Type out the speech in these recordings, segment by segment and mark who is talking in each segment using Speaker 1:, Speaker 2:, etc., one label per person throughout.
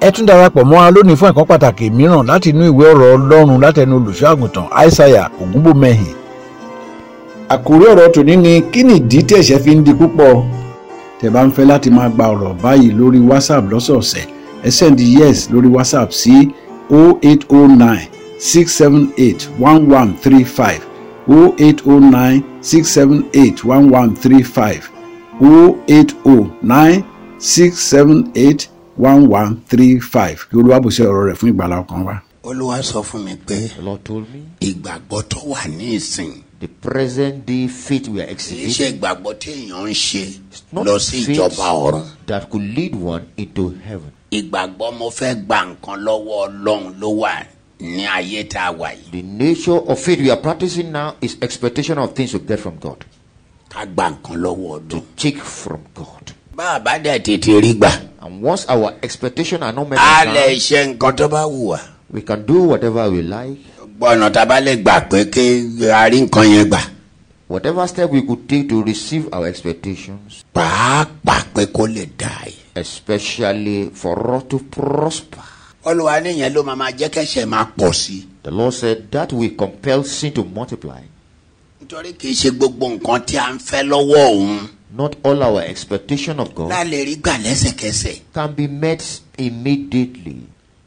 Speaker 1: ẹ tún darapọ̀ mọ́ wa lónìí fún ẹ̀kọ́ pàtàkì mìíràn láti inú ìwé ọ̀rọ̀ ọlọ́run látẹnu olùṣọ́àgùntàn aishaiya ògúnbòmẹ́hìn. àkórí ọ̀rọ̀ tòní ni kí nìdí tí ẹ̀ṣẹ̀ fi ń di púpọ̀ tẹ́ bá ń fẹ́ láti máa gba ọ̀rọ̀ báyìí lórí whatsapp lọ́sọ̀ọ̀sẹ̀ ẹ send yes lórí whatsapp sí 0809 678 1135 0809 678 1135 0809 678 1135 kí olúwa bùsí ọ̀rọ̀ rẹ̀ fún ìgbàlá ọkàn wa.
Speaker 2: olúwa sọ fún mi pé
Speaker 3: The Lord told me
Speaker 2: ìgbàgbọ́ tó wà ní ìsìn
Speaker 3: the present day faith we
Speaker 2: kì
Speaker 3: are
Speaker 2: í ṣe
Speaker 3: exhibiting
Speaker 2: ìgbàgbọ́ téèyàn ń ṣe
Speaker 3: not
Speaker 2: lọ sí
Speaker 3: faith
Speaker 2: ìjọba ọ̀run
Speaker 3: that could lead one into heaven.
Speaker 2: ìgbàgbọ́ mo fẹ́ gba nǹkan lọ́wọ́ ọlọ́run ló wà ní ayé tá a wà yìí
Speaker 3: The nature of faith we are practicing now is expectation of things we get from God,
Speaker 2: ká gba nǹkan lọ́wọ́ ọdún.
Speaker 3: take from God.
Speaker 2: bá a bá dẹ̀ tètè rí gbà
Speaker 3: And once our expectation are not met,
Speaker 2: á
Speaker 3: in
Speaker 2: lè
Speaker 3: time,
Speaker 2: ṣe nǹkan tó bá wù wá.
Speaker 3: we can do whatever we like.
Speaker 2: gbọ́nà tá a bá lè gbà pé kí a rí nǹkan yẹn gbà
Speaker 3: Whatever step we could take to receive our expectations,
Speaker 2: pàápàá pé kó lè dà yìí.
Speaker 3: especially for us to prosper.
Speaker 2: olùwà nìyẹn ló máa ma jẹ́ kẹ́sẹ̀ máa pọ̀ sí i.
Speaker 3: The Lord said that will compel sin to multiply.
Speaker 2: nítorí kì í ṣe gbogbo nǹkan tí a ń fẹ́ lọ́wọ́ òun
Speaker 3: Not all our expectation of God
Speaker 2: la lè rí gbà lẹ́sẹ̀kẹsẹ̀.
Speaker 3: can be met immediately.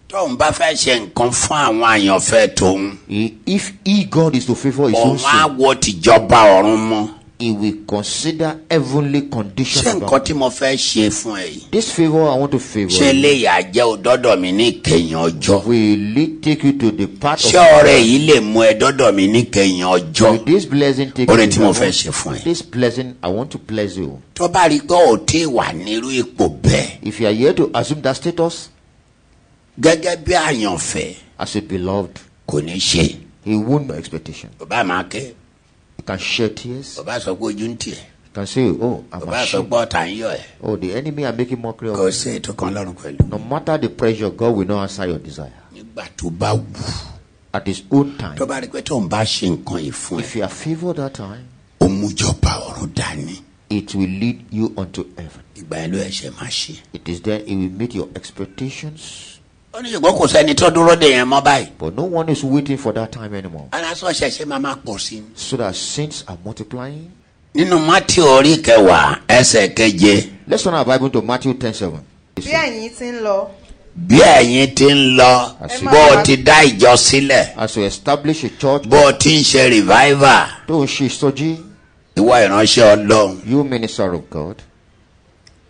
Speaker 2: tóun bá fẹ́ ṣe nǹkan fún àwọn àyànfẹ́ tóun
Speaker 3: He- If he God is to favor his own
Speaker 2: òun á
Speaker 3: soul,
Speaker 2: wo tìjọba ọ̀run mọ́.
Speaker 3: he will consider heavenly conditions.
Speaker 2: ṣé
Speaker 3: about
Speaker 2: nǹkan tí mo fẹ́ ṣe fún ẹ yìí
Speaker 3: This favor I want to favor.
Speaker 2: ṣé
Speaker 3: you.
Speaker 2: léyà jẹ́ òdọ́dọ̀ mi ní ìkẹyìn ọjọ́?
Speaker 3: Will it take you to the path
Speaker 2: ṣé
Speaker 3: of
Speaker 2: ọrẹ yìí lè mú ẹ dọ́dọ̀ mi ní ìkẹyìn ọjọ́?
Speaker 3: Will this blessing take
Speaker 2: Ọrẹ
Speaker 3: you
Speaker 2: tí
Speaker 3: to
Speaker 2: mo
Speaker 3: the
Speaker 2: fẹ́ ṣe
Speaker 3: heaven?
Speaker 2: fún ẹ.
Speaker 3: This blessing I want to bless you.
Speaker 2: tó bá rí i pé ò tí ì wà nírú ipò bẹ́ẹ̀
Speaker 3: If you are here to assume that status
Speaker 2: gẹ́gẹ́ bí àyànfẹ́
Speaker 3: as a beloved,
Speaker 2: kò ní ṣe.
Speaker 3: he won't know expectation.
Speaker 2: bàbá máa kẹ́
Speaker 3: You can shed tears.
Speaker 2: bàbá sọ pé ojú ń tiẹ̀
Speaker 3: You can say, Oh, I'm
Speaker 2: bàbá sọ pé
Speaker 3: ashamed.
Speaker 2: ọ̀tá ń yọ ẹ̀
Speaker 3: Oh, the enemy are making mockery of
Speaker 2: kò
Speaker 3: me.
Speaker 2: sí ètò kan lọ́rùn pẹ̀lú.
Speaker 3: No matter the pressure, God will not answer your desire.
Speaker 2: nígbà tó bá wù
Speaker 3: At his own
Speaker 2: tó
Speaker 3: time,
Speaker 2: bá rí i pé tóun bá ṣe nǹkan yìí fún ẹ
Speaker 3: if you are favored that time,
Speaker 2: ó mú jọba ọ̀run dání
Speaker 3: it will lead you unto heaven.
Speaker 2: ìgbà yẹn ló ẹ̀ṣẹ̀ máa ṣe.
Speaker 3: It is there it will meet your expectations.
Speaker 2: ó ní ṣùgbọ́n kò sẹ́ni tó dúró de yẹn mọ́ báyìí.
Speaker 3: But no one is waiting for that time anymore.
Speaker 2: aláṣọ ṣẹ̀ṣẹ̀ máa máa pọ̀ sí i.
Speaker 3: So that sins are multiplying.
Speaker 2: nínú mátì orí kẹwàá ẹsẹ̀ keje
Speaker 3: Let's turn our Bible to Matthew ten seven.
Speaker 4: bí ẹ̀yin ti ń lọ
Speaker 2: bí ẹ̀yin ti ń lọ
Speaker 3: Àṣì-
Speaker 2: bó o ti dá ìjọ sílẹ̀
Speaker 3: As we establish a church,
Speaker 2: bó o ti ń ṣe revival
Speaker 3: though she is stodgy,
Speaker 2: ìwọ ìránṣẹ́ ọlọ́run
Speaker 3: you minister of God,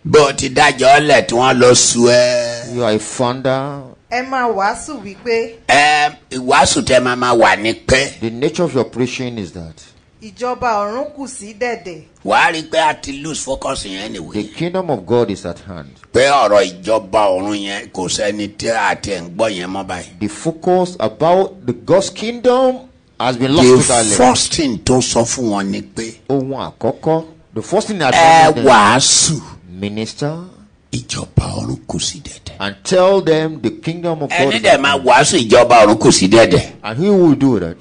Speaker 2: bó o ti dájọ́ ọlẹ̀ tí wọ́n lọ sú ẹ.
Speaker 3: you are a founder.
Speaker 4: ẹ máa wàásù wípé
Speaker 2: ẹ ìwàásù tẹ máa máa wà ní pẹ́
Speaker 3: The nature of your preaching is that
Speaker 4: ìjọba ọ̀run kù sí dẹ̀dẹ̀
Speaker 2: wàá rí i pé a ti lose focus yẹn
Speaker 3: the
Speaker 2: nìwé.
Speaker 3: kingdom of God is at hand.
Speaker 2: pé ọ̀rọ̀ ìjọba ọ̀run yẹn kò sẹ́ni tí a ti ń gbọ́ yẹn mọ́ báyìí.
Speaker 3: The focus about the God's kingdom has been
Speaker 2: the
Speaker 3: lost totally.
Speaker 2: first thing tó sọ fún wọn ni pé
Speaker 3: Ohun àkọ́kọ́, the first thing that
Speaker 2: ẹ
Speaker 3: them,
Speaker 2: wàásù
Speaker 3: minister
Speaker 2: ìjọba ọ̀run kù sí dẹ̀dẹ̀.
Speaker 3: and tell them the kingdom of God.
Speaker 2: ẹni
Speaker 3: is
Speaker 2: dẹ̀
Speaker 3: at
Speaker 2: máa
Speaker 3: hand.
Speaker 2: wàásù ìjọba ọ̀run kù sí dẹ̀dẹ̀.
Speaker 3: And who will do that?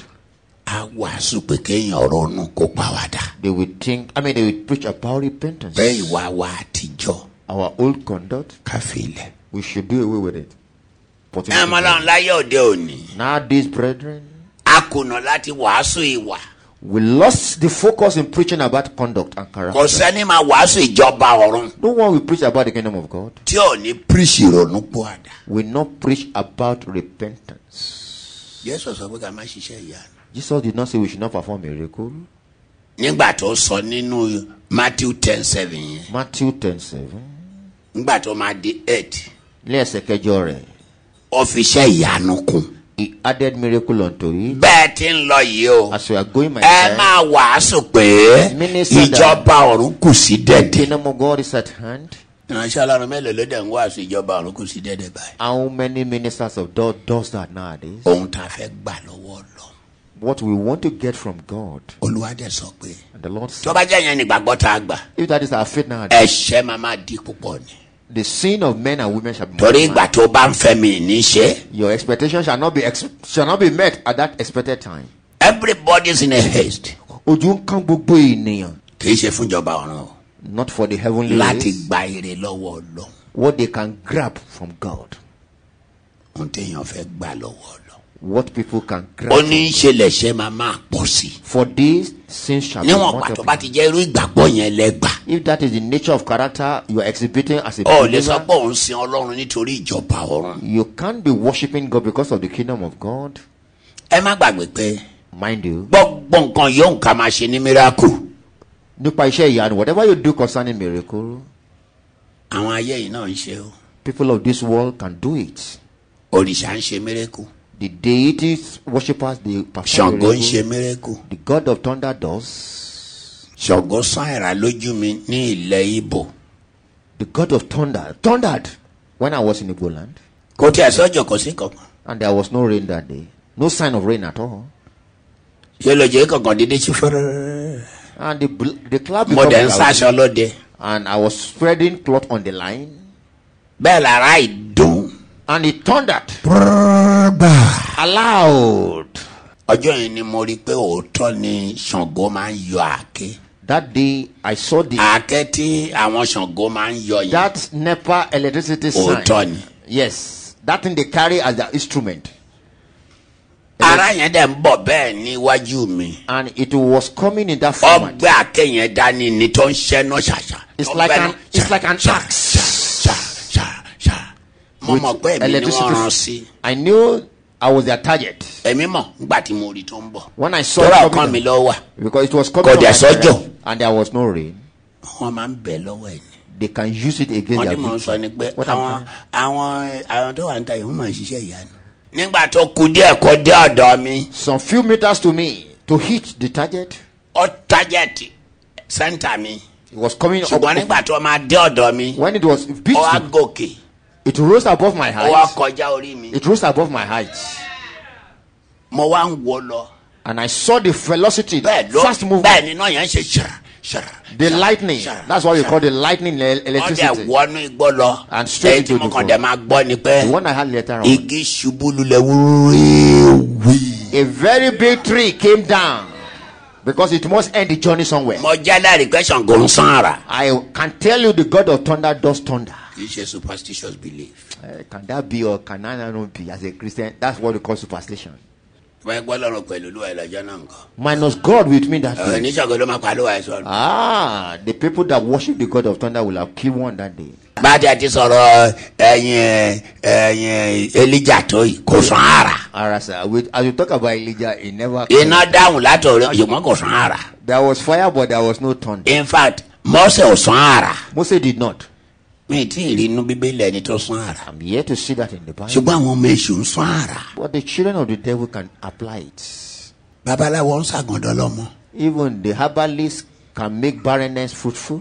Speaker 2: a wàásù pé kéèyàn ronú kó pàwàdà.
Speaker 3: They will think. I mean, they will preach about repentance.
Speaker 2: bẹ́ẹ̀ ìwà wa àtijọ́
Speaker 3: Our old conduct,
Speaker 2: káfí ilẹ̀.
Speaker 3: we should do away with it. But
Speaker 2: ẹ mọ lọ́run láyé òde òní
Speaker 3: nowadays, brethren,
Speaker 2: a kùnà láti wàásù ìwà.
Speaker 3: we lost the focus in preaching about conduct and
Speaker 2: kò
Speaker 3: character.
Speaker 2: sẹ́ni máa wàásù ìjọba ọ̀run
Speaker 3: No one will preach about the kingdom of God.
Speaker 2: tí ò ní píríṣì ronú pọ̀ àdá.
Speaker 3: Will not preach about repentance.
Speaker 2: jésù sọ pé ká má ṣiṣẹ́ ìyanu.
Speaker 3: Jesus did not say we should not perform miracle.
Speaker 2: nígbà tó sọ nínú matthew ten seven yẹn
Speaker 3: Matthew ten seven.
Speaker 2: nígbà tó máa di eight
Speaker 3: Lẹ́sẹ̀ kẹjọ rẹ̀,
Speaker 2: ó fi iṣẹ́ ìyanu kún.
Speaker 3: he added miracle unto it.
Speaker 2: bẹ́ẹ̀ ti ń lọ yìí o
Speaker 3: As Eh? we are going,
Speaker 2: ẹ
Speaker 3: my friend,
Speaker 2: máa wàásù pé
Speaker 3: Mínísítà.
Speaker 2: ìjọba ọ̀run kù sí
Speaker 3: the
Speaker 2: dẹ̀dẹ̀.
Speaker 3: kingdom of God is at hand.
Speaker 2: ìránṣẹ́ ọlọ́run mélòó ló dẹ̀ ń wàásù ìjọba ọ̀run kù sí dẹ̀dẹ̀ báyìí.
Speaker 3: How many ministers of God does that nowadays?
Speaker 2: ohun tá a fẹ́ gbà lọ́wọ́ lọ
Speaker 3: What we want to get from God,
Speaker 2: olúwa dẹ̀ sọ pé
Speaker 3: and the Lord
Speaker 2: tó
Speaker 3: said,
Speaker 2: bá jẹ́ yẹn nígbàgbọ́ tá a gbà
Speaker 3: if that is our faith nowadays,
Speaker 2: ẹ̀ṣẹ̀ máa máa di púpọ̀ ni.
Speaker 3: the sin of men and women shall be
Speaker 2: torí ìgbà
Speaker 3: multiplied.
Speaker 2: tó bá ń fẹ́ mi ní í ṣe
Speaker 3: Your expectation shall not be ex- shall not be met at that expected time.
Speaker 2: everybody's in a haste
Speaker 3: Ojú ń kán gbogbo ènìyàn.
Speaker 2: kì í ṣe fúnjọba ọ̀run o
Speaker 3: Not for the heavenly
Speaker 2: láti
Speaker 3: ways,
Speaker 2: gba èrè lọ́wọ́ ọlọ́run
Speaker 3: what they can grab from God.
Speaker 2: ohun téèyàn fẹ́ gbà lọ́wọ́ lọ.
Speaker 3: what people
Speaker 2: ó
Speaker 3: can grant.
Speaker 2: ní í ṣe lẹ̀ṣẹ̀ máa máa pọ̀ sí i.
Speaker 3: For this sin shall be
Speaker 2: níwọ̀n pàtó bá
Speaker 3: multiplied.
Speaker 2: ti jẹ́ irú ìgbàgbọ́ yẹn lẹ́gbàá.
Speaker 3: If that is the nature of character you are exhibiting as a
Speaker 2: ọ ò lè sọ
Speaker 3: believer,
Speaker 2: pé òun sin ọlọ́run nítorí ìjọba ọ̀run.
Speaker 3: you can't be worshiping God because of the kingdom of God.
Speaker 2: ẹ má gbàgbé pé
Speaker 3: Mind you,
Speaker 2: gbọ́gbọ́ nǹkan yóò ká máa ṣe ní miracle.
Speaker 3: nípa iṣẹ́ ìyanu, whatever you do concerning miracle,
Speaker 2: àwọn ayé yìí náà ń ṣe o.
Speaker 3: people of this world can do it.
Speaker 2: òrìṣà ń ṣe miracle.
Speaker 3: The deities, worshippers, they perform
Speaker 2: ṣàngó ń
Speaker 3: miracle.
Speaker 2: ṣe miracle.
Speaker 3: The God of thunder does.
Speaker 2: ṣàngó sán ẹ̀rà lójú mi ní ilẹ̀ ibo.
Speaker 3: The God of thunder thundered when I was in Igboland,
Speaker 2: kò tí ẹ̀ sọ́jọ́ kò sí kankan.
Speaker 3: and there was no rain that day. No sign of rain at all.
Speaker 2: ṣé ló jẹ́ kankan dídí sí fẹ́rẹ́.
Speaker 3: And the bl- the cloud
Speaker 2: mo
Speaker 3: become
Speaker 2: dẹ̀ ń
Speaker 3: cloudy.
Speaker 2: sáṣọ lóde.
Speaker 3: and I was spreading cloth on the line,
Speaker 2: bẹ́ẹ̀ lára ìdùn.
Speaker 3: and it thundered aloud.
Speaker 2: ọjọ́ yẹn ni mo rí i pé òótọ́ ni ṣàngó máa ń yọ àáké.
Speaker 3: That day, I saw the
Speaker 2: àáké tí àwọn ṣàngó máa ń yọ yẹn.
Speaker 3: that NEPA electricity
Speaker 2: Oh,
Speaker 3: sign.
Speaker 2: Otoni.
Speaker 3: Yes, that thing they carry as their instrument,
Speaker 2: ara yẹn dẹ̀ ń bọ̀ bẹ́ẹ̀ níwájú mi.
Speaker 3: and it was coming in that format.
Speaker 2: ọgbẹ akẹyìn ẹdá ni ni tó ń ṣẹnu ṣàṣà.
Speaker 3: It's like an- it's like an axe.
Speaker 2: mo mọ̀ pé èmi ni wọ́n rán sí.
Speaker 3: I knew I was their target
Speaker 2: èmi mọ̀ nígbà tí mo rí tó ń bọ̀.
Speaker 3: when I saw
Speaker 2: tọ́lá
Speaker 3: it
Speaker 2: ọkàn mi
Speaker 3: coming,
Speaker 2: lọ́wọ́ wà
Speaker 3: because it was coming.
Speaker 2: Kò
Speaker 3: on
Speaker 2: dẹ̀
Speaker 3: my
Speaker 2: sọ́jọ́.
Speaker 3: direction, and there was no rain.
Speaker 2: wọ́n máa ń bẹ̀ lọ́wọ́ ẹ̀ ni.
Speaker 3: They can use it against
Speaker 2: wọ́n
Speaker 3: their
Speaker 2: ní mò ń sọ ni pé
Speaker 3: victim. What
Speaker 2: àwọn
Speaker 3: happened?
Speaker 2: àwọn àwọn tó wà ń ta yìí wọ́n máa ń ṣiṣẹ́ ìyanu. nígbà tó ku díẹ̀ kó dé ọ̀dọ̀ mi
Speaker 3: Some few meters to me to hit the target.
Speaker 2: ó tájẹ̀tì sẹ́ńtà mi
Speaker 3: It was coming up.
Speaker 2: ṣùgbọ́n nígbà tó máa dé ọ̀dọ̀ mi
Speaker 3: When it was beat,
Speaker 2: ó wá gòkè
Speaker 3: it rose above my
Speaker 2: ó wá
Speaker 3: height.
Speaker 2: kọjá orí mi
Speaker 3: It rose above my height.
Speaker 2: mo wá ń wò ó lọ.
Speaker 3: And I saw the velocity,
Speaker 2: bẹ́ẹ̀ ló
Speaker 3: fast
Speaker 2: bẹ́ẹ̀
Speaker 3: movement,
Speaker 2: ni náà yẹn ṣe ṣara ṣara.
Speaker 3: the
Speaker 2: ṣara,
Speaker 3: lightning.
Speaker 2: ṣara,
Speaker 3: That's why we
Speaker 2: ṣara.
Speaker 3: call the lightning el-
Speaker 2: wọ́n dẹ̀
Speaker 3: electricity.
Speaker 2: wọnú igbó lọ.
Speaker 3: And straight
Speaker 2: èyí tí
Speaker 3: into
Speaker 2: mo
Speaker 3: the
Speaker 2: kàn
Speaker 3: phone.
Speaker 2: dẹ̀ máa gbọ́ ni pé
Speaker 3: The one I had later on.
Speaker 2: igi ṣubú lulẹ̀ wíwíwí.
Speaker 3: A very big tree came down because it must end the journey somewhere.
Speaker 2: mo jẹ́ lẹ́rìí pé ṣàngó ń san ara.
Speaker 3: I can tell you the God of thunder does thunder.
Speaker 2: kì í ṣe superstitious belief.
Speaker 3: Eh, can that be or can that not be as a Christian? That's what we call superstition.
Speaker 2: wọ́n gbọ́ lọ́rùn pẹ̀lú olúwa ìlọ́jọ́ náà nǹkan.
Speaker 3: Minus God with me that
Speaker 2: ọ̀rọ̀
Speaker 3: day.
Speaker 2: ní ṣàngó ló máa pa olúwa ẹ̀ sọ̀rọ̀.
Speaker 3: Ah, the people that worship the God of thunder will have killed one that day.
Speaker 2: bá a ti àti sọ̀rọ̀ ẹ̀yìn ẹ̀yìn elija tó yìí kò san ara.
Speaker 3: Arasa, with, as you talk about Elijah, he never.
Speaker 2: iná dáhùn látọ̀ rẹ̀ ṣùgbọ́n kò san ara.
Speaker 3: There was fire, but there was no thunder.
Speaker 2: in fact mọ́sẹ̀ ò san ara.
Speaker 3: Moses did not.
Speaker 2: mi tí ì rí inú bíbélì ẹni tó sún ara
Speaker 3: I'm here to see that in the Bible.
Speaker 2: ṣùgbọ́n àwọn ọmọ èṣù ń sún ara
Speaker 3: But the children of the devil can apply it.
Speaker 2: babaláwo ń ṣàgàndàn lọ́mọ.
Speaker 3: Even the herbalists can make barrenness fruitful.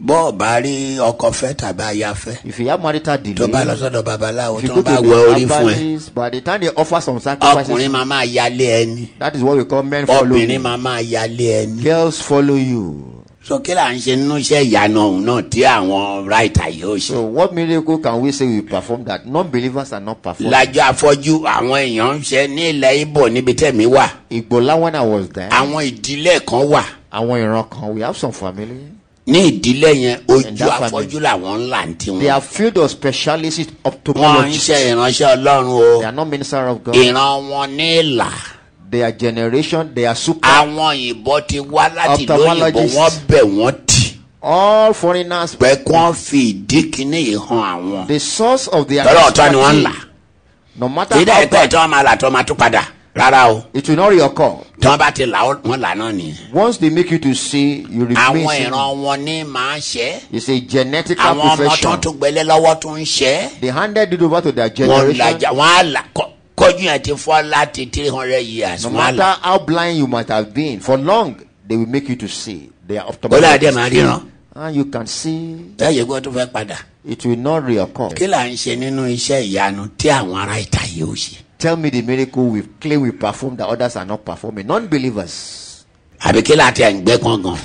Speaker 2: bọ́ọ̀ bá rí ọkọ fẹ́ tàbí aya fẹ́
Speaker 3: If you have marital delay,
Speaker 2: tó bá lọ sọ́dọ̀ babaláwo
Speaker 3: if
Speaker 2: tó
Speaker 3: you
Speaker 2: ń bá
Speaker 3: go to
Speaker 2: wẹ orí
Speaker 3: the
Speaker 2: fún ẹ
Speaker 3: herbalist, by the time they offer some
Speaker 2: ọkùnrin
Speaker 3: sacrifices,
Speaker 2: máa máa yálé ẹni
Speaker 3: that is what we call men follow
Speaker 2: obìnrin
Speaker 3: you.
Speaker 2: máa máa yálé ẹni.
Speaker 3: Girls follow you.
Speaker 2: sókè là ń ṣe nínú iṣẹ́ ìyanu ọ̀hún náà tí àwọn ráìtà yóò ṣe.
Speaker 3: So, what miracle can we say we perform that non-believers are not performing?
Speaker 2: lájọ afọ́jú àwọn èèyàn ń ṣe ní ilẹ̀ ibo níbi tẹ̀mí wà
Speaker 3: Igbola when I was there,
Speaker 2: àwọn ìdílé kan wà
Speaker 3: àwọn ìran kan we have some family.
Speaker 2: ní ìdílé yẹn
Speaker 3: And
Speaker 2: ojú
Speaker 3: that family.
Speaker 2: afọ́jú làwọn ń là ń tiwọn.
Speaker 3: They are filled of specialists
Speaker 2: wọn ń ṣe
Speaker 3: ophthalmologists.
Speaker 2: ìránṣẹ́ ọlọ́run o
Speaker 3: They are not minister of God.
Speaker 2: ìran wọn ní ìlà
Speaker 3: Their generation, they are super.
Speaker 2: àwọn òyìnbó ti wá láti ìlú òyìnbó
Speaker 3: Ophthalmologist.
Speaker 2: wọn bẹ̀ wọ́n tì
Speaker 3: All foreigners,
Speaker 2: pé kí wọ́n fi ìdí kínní yìí hàn àwọn.
Speaker 3: the source of their
Speaker 2: tọ́lá ọ̀tọ́ ni wọ́n ń là
Speaker 3: No matter
Speaker 2: kí
Speaker 3: how
Speaker 2: dẹ́ pẹ́
Speaker 3: bad,
Speaker 2: tí wọ́n máa là tí wọ́n máa tún padà rárá o
Speaker 3: it will not reoccur.
Speaker 2: tí wọ́n bá ti là ó- wọ́n là náà nìyẹn.
Speaker 3: Once they make you to see, you remain.
Speaker 2: àwọn ìran
Speaker 3: single.
Speaker 2: wọn ní máa ń ṣe é.
Speaker 3: It's a genetic
Speaker 2: àwọn ọmọ tó ń
Speaker 3: profession.
Speaker 2: tún gbélé lọ́wọ́ tó ń ṣe é.
Speaker 3: They handed it over to their
Speaker 2: wọ́n lajà
Speaker 3: generation.
Speaker 2: wọ́n á là kọ́- kọ́jú yẹn ti fọ́ láti three hundred years
Speaker 3: No
Speaker 2: wọ́n á là.
Speaker 3: matter how blind you might have been, for long they will make you to see. They are
Speaker 2: bọ́lá adé máa ríran
Speaker 3: ophthalmologists. And you can see,
Speaker 2: bẹ́ẹ̀ yẹ kó tó fẹ́ padà.
Speaker 3: it will not reoccur.
Speaker 2: kí là ń ṣe nínú iṣẹ́ ìyanu tí àwọn ará ìta yìí ó ṣe.
Speaker 3: Tell me the miracle we claim we perform that others are not performing. Non-believers.
Speaker 2: àbí kí là ti à ń gbẹ́ pọ́n gan.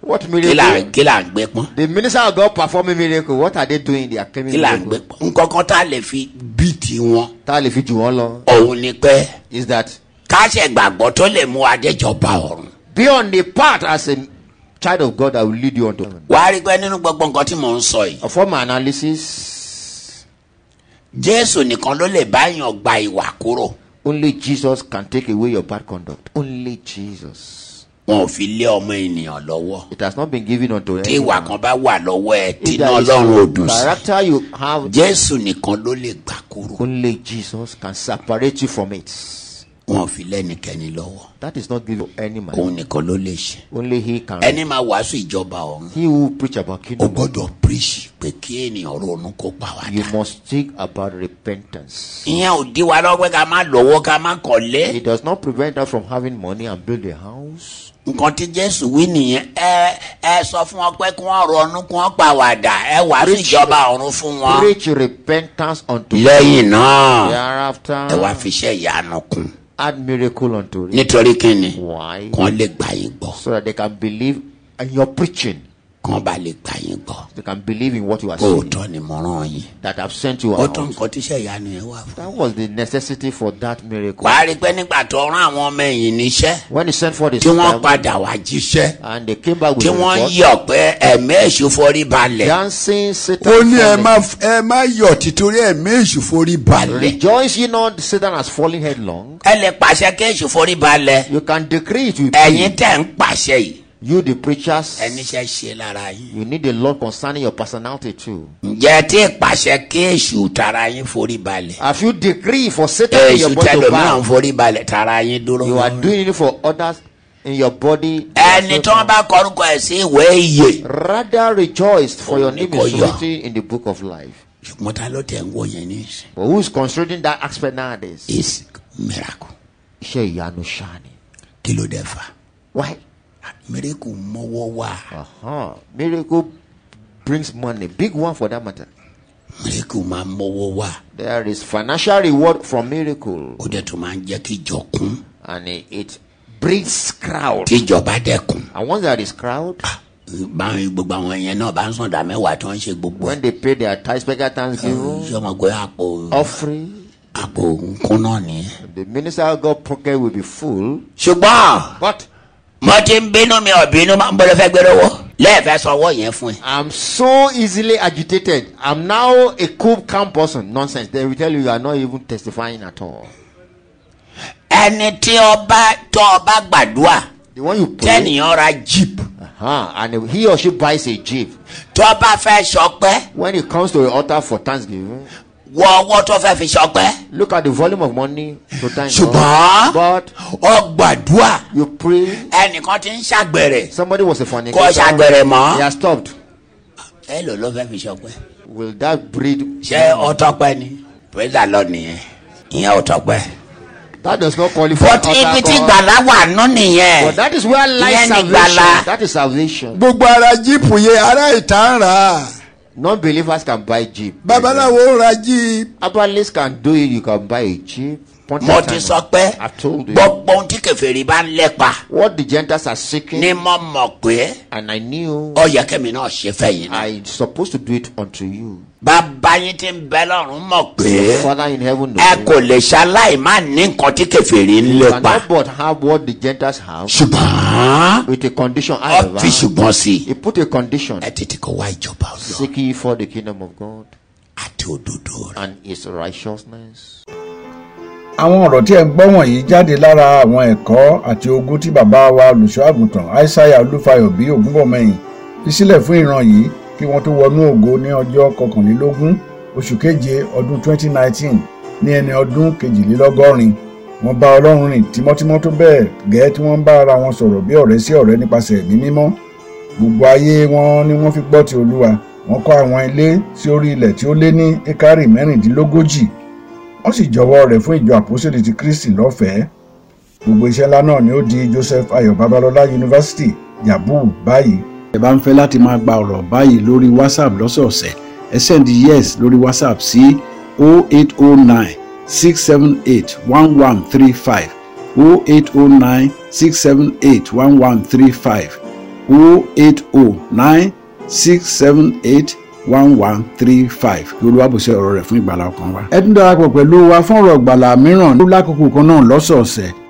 Speaker 3: What
Speaker 2: kí là
Speaker 3: miracle?
Speaker 2: kí là ń gbẹ́ pọ́n.
Speaker 3: The minister of God performing miracle. What are they doing? They are claiming
Speaker 2: kí là ń gbẹ́
Speaker 3: miracle.
Speaker 2: pọ́n. nkankan tá a lè fi bí tiwọn.
Speaker 3: Ta le fi jù wọ́n lọ.
Speaker 2: òun ni pé
Speaker 3: Is that
Speaker 2: káṣẹ gbàgbọ́ tó lè mú adéjọba ọ̀run.
Speaker 3: be on the path as a child of God that will lead you unto heaven.
Speaker 2: wàá rí i pé nínú gbogbo nǹkan tí mò ń sọ yìí.
Speaker 3: From my analysis,
Speaker 2: jésù nìkan ló lè báyàn gba ìwà kúrò
Speaker 3: Only Jesus can take away your bad conduct. Only Jesus.
Speaker 2: wọn ò fi lé ọmọ ènìyàn lọ́wọ́
Speaker 3: It has not been given unto
Speaker 2: tí ìwà
Speaker 3: anyone.
Speaker 2: kan bá wà lọ́wọ́ ẹ tí
Speaker 3: If
Speaker 2: iná
Speaker 3: there is
Speaker 2: ọlọ́run ò dùn sí
Speaker 3: character you have,
Speaker 2: jésù nìkan ló lè gbà kúrò
Speaker 3: only Jesus can separate you from it.
Speaker 2: wọn ò fi lẹ́nikẹ́ni lọ́wọ́
Speaker 3: That is not given to any man.
Speaker 2: òun nìkan ló lè ṣe
Speaker 3: Only He can.
Speaker 2: ẹni máa wàásù ìjọba ọ̀run
Speaker 3: He who preach about
Speaker 2: ó
Speaker 3: kingdom,
Speaker 2: gbọ́dọ̀ preach pé kí ènìyàn ronú kó pa wá
Speaker 3: you
Speaker 2: dà
Speaker 3: must think about repentance.
Speaker 2: ìyẹn ò dí wa lọ́wọ́ pé ká má lọ́wọ́ ká má kọ́lé
Speaker 3: It does not prevent us from having money and build a house.
Speaker 2: nǹkan tí jésù wí nìyẹn ẹ ẹ sọ fún wọn pé kí wọ́n ronú kí wọ́n pa wá dà ẹ wàásù
Speaker 3: Preach.
Speaker 2: ìjọba ọ̀run fún wọn
Speaker 3: Preach repentance unto
Speaker 2: lẹ́yìn náà Ah. ẹ wá
Speaker 3: thereafter.
Speaker 2: fi iṣẹ́ ìyanu kún
Speaker 3: Add miracle unto it.
Speaker 2: nítorí kí ni
Speaker 3: Why?
Speaker 2: kàn lè gbà yín gbọ́
Speaker 3: So that they can believe in your preaching.
Speaker 2: kàn bá lè gbà yín gbọ́
Speaker 3: They can believe in what you are saying.
Speaker 2: òótọ́ ni mo rán yín
Speaker 3: That I've sent you
Speaker 2: ó
Speaker 3: out.
Speaker 2: tó nǹkan tíṣẹ́ ìyanu yẹn wà fún.
Speaker 3: That was the necessity for that miracle.
Speaker 2: wàá rí i pé nígbà tó rán àwọn ọmọ ẹ̀yìn níṣẹ́
Speaker 3: When he sent for the
Speaker 2: tí wọ́n
Speaker 3: disciples
Speaker 2: padà wá jíṣẹ́
Speaker 3: and they came back with
Speaker 2: tí
Speaker 3: the
Speaker 2: wọ́n
Speaker 3: report,
Speaker 2: yọ̀ pé ẹ̀mí èṣù forí balẹ̀
Speaker 3: dancing, Satan,
Speaker 1: ó ní ẹ
Speaker 3: fallen.
Speaker 1: má ẹ má yọ̀ títorí ẹ̀mí èṣù forí balẹ̀.
Speaker 3: rejoice ye not, Satan has fallen headlong.
Speaker 2: ẹ lè pàṣẹ kí èṣù forí balẹ̀
Speaker 3: You can decree it with
Speaker 2: ẹ̀yin tẹ̀ ń pàṣẹ yìí
Speaker 3: you, the preachers.
Speaker 2: ẹni ṣe ṣe lára yín.
Speaker 3: You need the Lord concerning your personality too.
Speaker 2: ǹjẹ́ tí ìpàṣẹ kí èṣù tara yín forí balẹ̀
Speaker 3: Have you decree for Satan in
Speaker 2: èṣù
Speaker 3: your body to
Speaker 2: tẹlòmíràn
Speaker 3: bow?
Speaker 2: forí balẹ̀ tara yín dúró.
Speaker 3: You are doing it for others in your body.
Speaker 2: ẹni tí wọ́n bá kọrúkọ ẹ̀ sí ìwé ìyè.
Speaker 3: rather rejoiced for your
Speaker 2: Only
Speaker 3: name is
Speaker 2: God.
Speaker 3: written in the book of life.
Speaker 2: ṣùgbọ́n ta ló tẹ̀ ń wò yẹn ní ìsìn.
Speaker 3: But who is considering that aspect nowadays?
Speaker 2: is miracle
Speaker 3: Iṣẹ́ ìyanu ṣáà ni.
Speaker 2: kí ló dé fa
Speaker 3: Why?
Speaker 2: miracle mọ́wọ́ wá
Speaker 3: Uh-huh. Miracle brings money, big one for that matter.
Speaker 2: miracle máa ń mọ́wọ́ wá
Speaker 3: There is financial reward from miracle,
Speaker 2: ó dẹ̀ tún máa ń jẹ́ kí ìjọ kún
Speaker 3: and it- it brings crowd.
Speaker 2: tí ìjọba dẹ̀ kún
Speaker 3: And once there is crowd,
Speaker 2: báwọn gbogbo àwọn yẹn náà bá ń sọ̀dà mẹ́wàá tí wọ́n ń ṣe gbogbo
Speaker 3: when
Speaker 2: ẹ̀
Speaker 3: they pay their tithes, beggar thanksgiving,
Speaker 2: ṣé mo gbé àpò
Speaker 3: offering,
Speaker 2: àpò nkún náà nìyẹn.
Speaker 3: the minister of God pocket will be full.
Speaker 2: ṣùgbọ́n
Speaker 3: But
Speaker 2: mo ti ń bínú mi ò bínú máa ń bọ́dọ̀ fẹ́ gbé lọ́wọ́ lẹ́ẹ̀fẹ́ sanwó yẹn fún ẹ.
Speaker 3: I'm so easily agitated. I'm now a cool, calm person. Nonsense. They will tell you you are not even testifying at all.
Speaker 2: ẹni tí ọba tó ọba gbàdúrà
Speaker 3: The one you pray,
Speaker 2: tẹ́nìyàn ra jeep
Speaker 3: uh-huh, and he or she buys a jeep.
Speaker 2: tó ọba fẹ́ sọpẹ́
Speaker 3: When it comes to the altar for thanksgiving,
Speaker 2: wọ ọwọ́ tó fẹ́ fi sọpẹ́.
Speaker 3: look at the volume of money to thank
Speaker 2: ṣùgbọ́n
Speaker 3: God. But
Speaker 2: ọgbàdúà
Speaker 3: you pray.
Speaker 2: ẹnìkan ti ń ṣàgbèrè
Speaker 3: Somebody was a
Speaker 2: kò
Speaker 3: fornicator.
Speaker 2: ṣàgbèrè
Speaker 3: They
Speaker 2: mọ́.
Speaker 3: are stopped.
Speaker 2: ẹ lò ló fẹ́ fi ṣọpẹ́.
Speaker 3: Will that breed?
Speaker 2: ṣé ọtọpẹ ni praise lọ nìyẹn ìyẹn ọtọpẹ.
Speaker 3: That does not qualify.
Speaker 2: but
Speaker 3: altar
Speaker 2: ibi tí
Speaker 3: call.
Speaker 2: gbàlá wà nù
Speaker 3: But
Speaker 2: nìyẹn.
Speaker 3: that is where lies
Speaker 2: Ìyẹn ni
Speaker 3: salvation.
Speaker 2: ìgbàlà.
Speaker 3: That is salvation.
Speaker 1: gbogbo ara jíìpù yẹn ará ìta ń rà á
Speaker 3: Non-believers can buy jeep.
Speaker 1: babaláwo ń ra jíìpù.
Speaker 3: Abalists can do it. You can buy a jeep. Point
Speaker 2: mo
Speaker 3: of
Speaker 2: ti
Speaker 3: time.
Speaker 2: sọ pé
Speaker 3: I told you.
Speaker 2: gbogbo ohun tí kẹfẹ́rì bá ń lẹ́pa
Speaker 3: What the Gentiles are seeking,
Speaker 2: ni mo mọ̀ pé
Speaker 3: and I knew
Speaker 2: ó yẹ kẹ́mi náà ṣe fẹ́yìn náà.
Speaker 3: I supposed to do it unto you.
Speaker 2: bàbá yín ti ń bẹ lọ́rùn mọ̀
Speaker 3: Your
Speaker 2: pé
Speaker 3: Father in heaven knows.
Speaker 2: ẹ
Speaker 3: it.
Speaker 2: kò lè ṣaláì má ní nǹkan tí kẹfẹ́rì ń
Speaker 3: You
Speaker 2: lẹ́pa.
Speaker 3: cannot but have what the Gentiles have
Speaker 2: ṣùgbọ́n.
Speaker 3: with a condition. However,
Speaker 2: ọ́fíìsì ṣùgbọ́n sí i.
Speaker 3: he put a condition.
Speaker 2: ẹ tètè kọ wá ìjọba ọlọ
Speaker 3: Seek ye for the kingdom of God
Speaker 2: àti òdodo rẹ.
Speaker 3: and his righteousness.
Speaker 1: àwọn ọ̀rọ̀ tí ẹ̀ ń gbọ́ wọ̀nyí jáde lára àwọn ẹ̀kọ́ àti ogún tí bàbá wa olùṣọ́àgùntàn aishaiya olúfayọ bí ògúnbọ̀mọyìn fi sílẹ̀ fún ìran yìí kí wọ́n tó wọnú ògo ní ọjọ́ kọkànlélógún oṣù keje ọdún 2019 ní ẹni ọdún kejìlélọ́gọ́rin wọ́n bá ọlọ́run rìn tímọ́tímọ́ tó bẹ́ẹ̀ gẹ́ẹ́ tí wọ́n bá ara wọn sọ̀rọ̀ bí ọ̀rẹ́ sí ọ̀rẹ́ nípasẹ̀ ẹ̀mí mímọ́ gbogbo ayé wọn ni wọ́n fi gbọ́ ti olúwa wọ́n kọ́ àwọn ilé sí orí ilẹ̀ tí ó lé ní ekari mẹ́rìndínlógójì wọ́n sì jọ̀wọ́ rẹ̀ fún ìjọ àpòsílẹ̀ ti kristi lọ́fẹ̀ẹ́ gbogbo iṣẹ́ ńlá náà ni ó di joseph ayọ̀ babalọ́lá yunifásitì yabu báyìí. ẹ bá ń fẹ́ láti máa gba ọ̀rọ̀ báyìí lórí whatsapp lọ́sọ̀ọ̀sẹ̀ ẹ send yes lórí whatsapp sí 0809 678 1135 0809 678 1135 0809 678 1135 olúwàbùsẹ̀ ọ̀rọ̀ rẹ̀ fún ìgbàlá ọkàn wa. ẹ tún darapọ̀ pẹ̀lú wa fún ọ̀rọ̀ ìgbàlá mìíràn lákòókò kan náà lọ́sọ̀ọ̀sẹ̀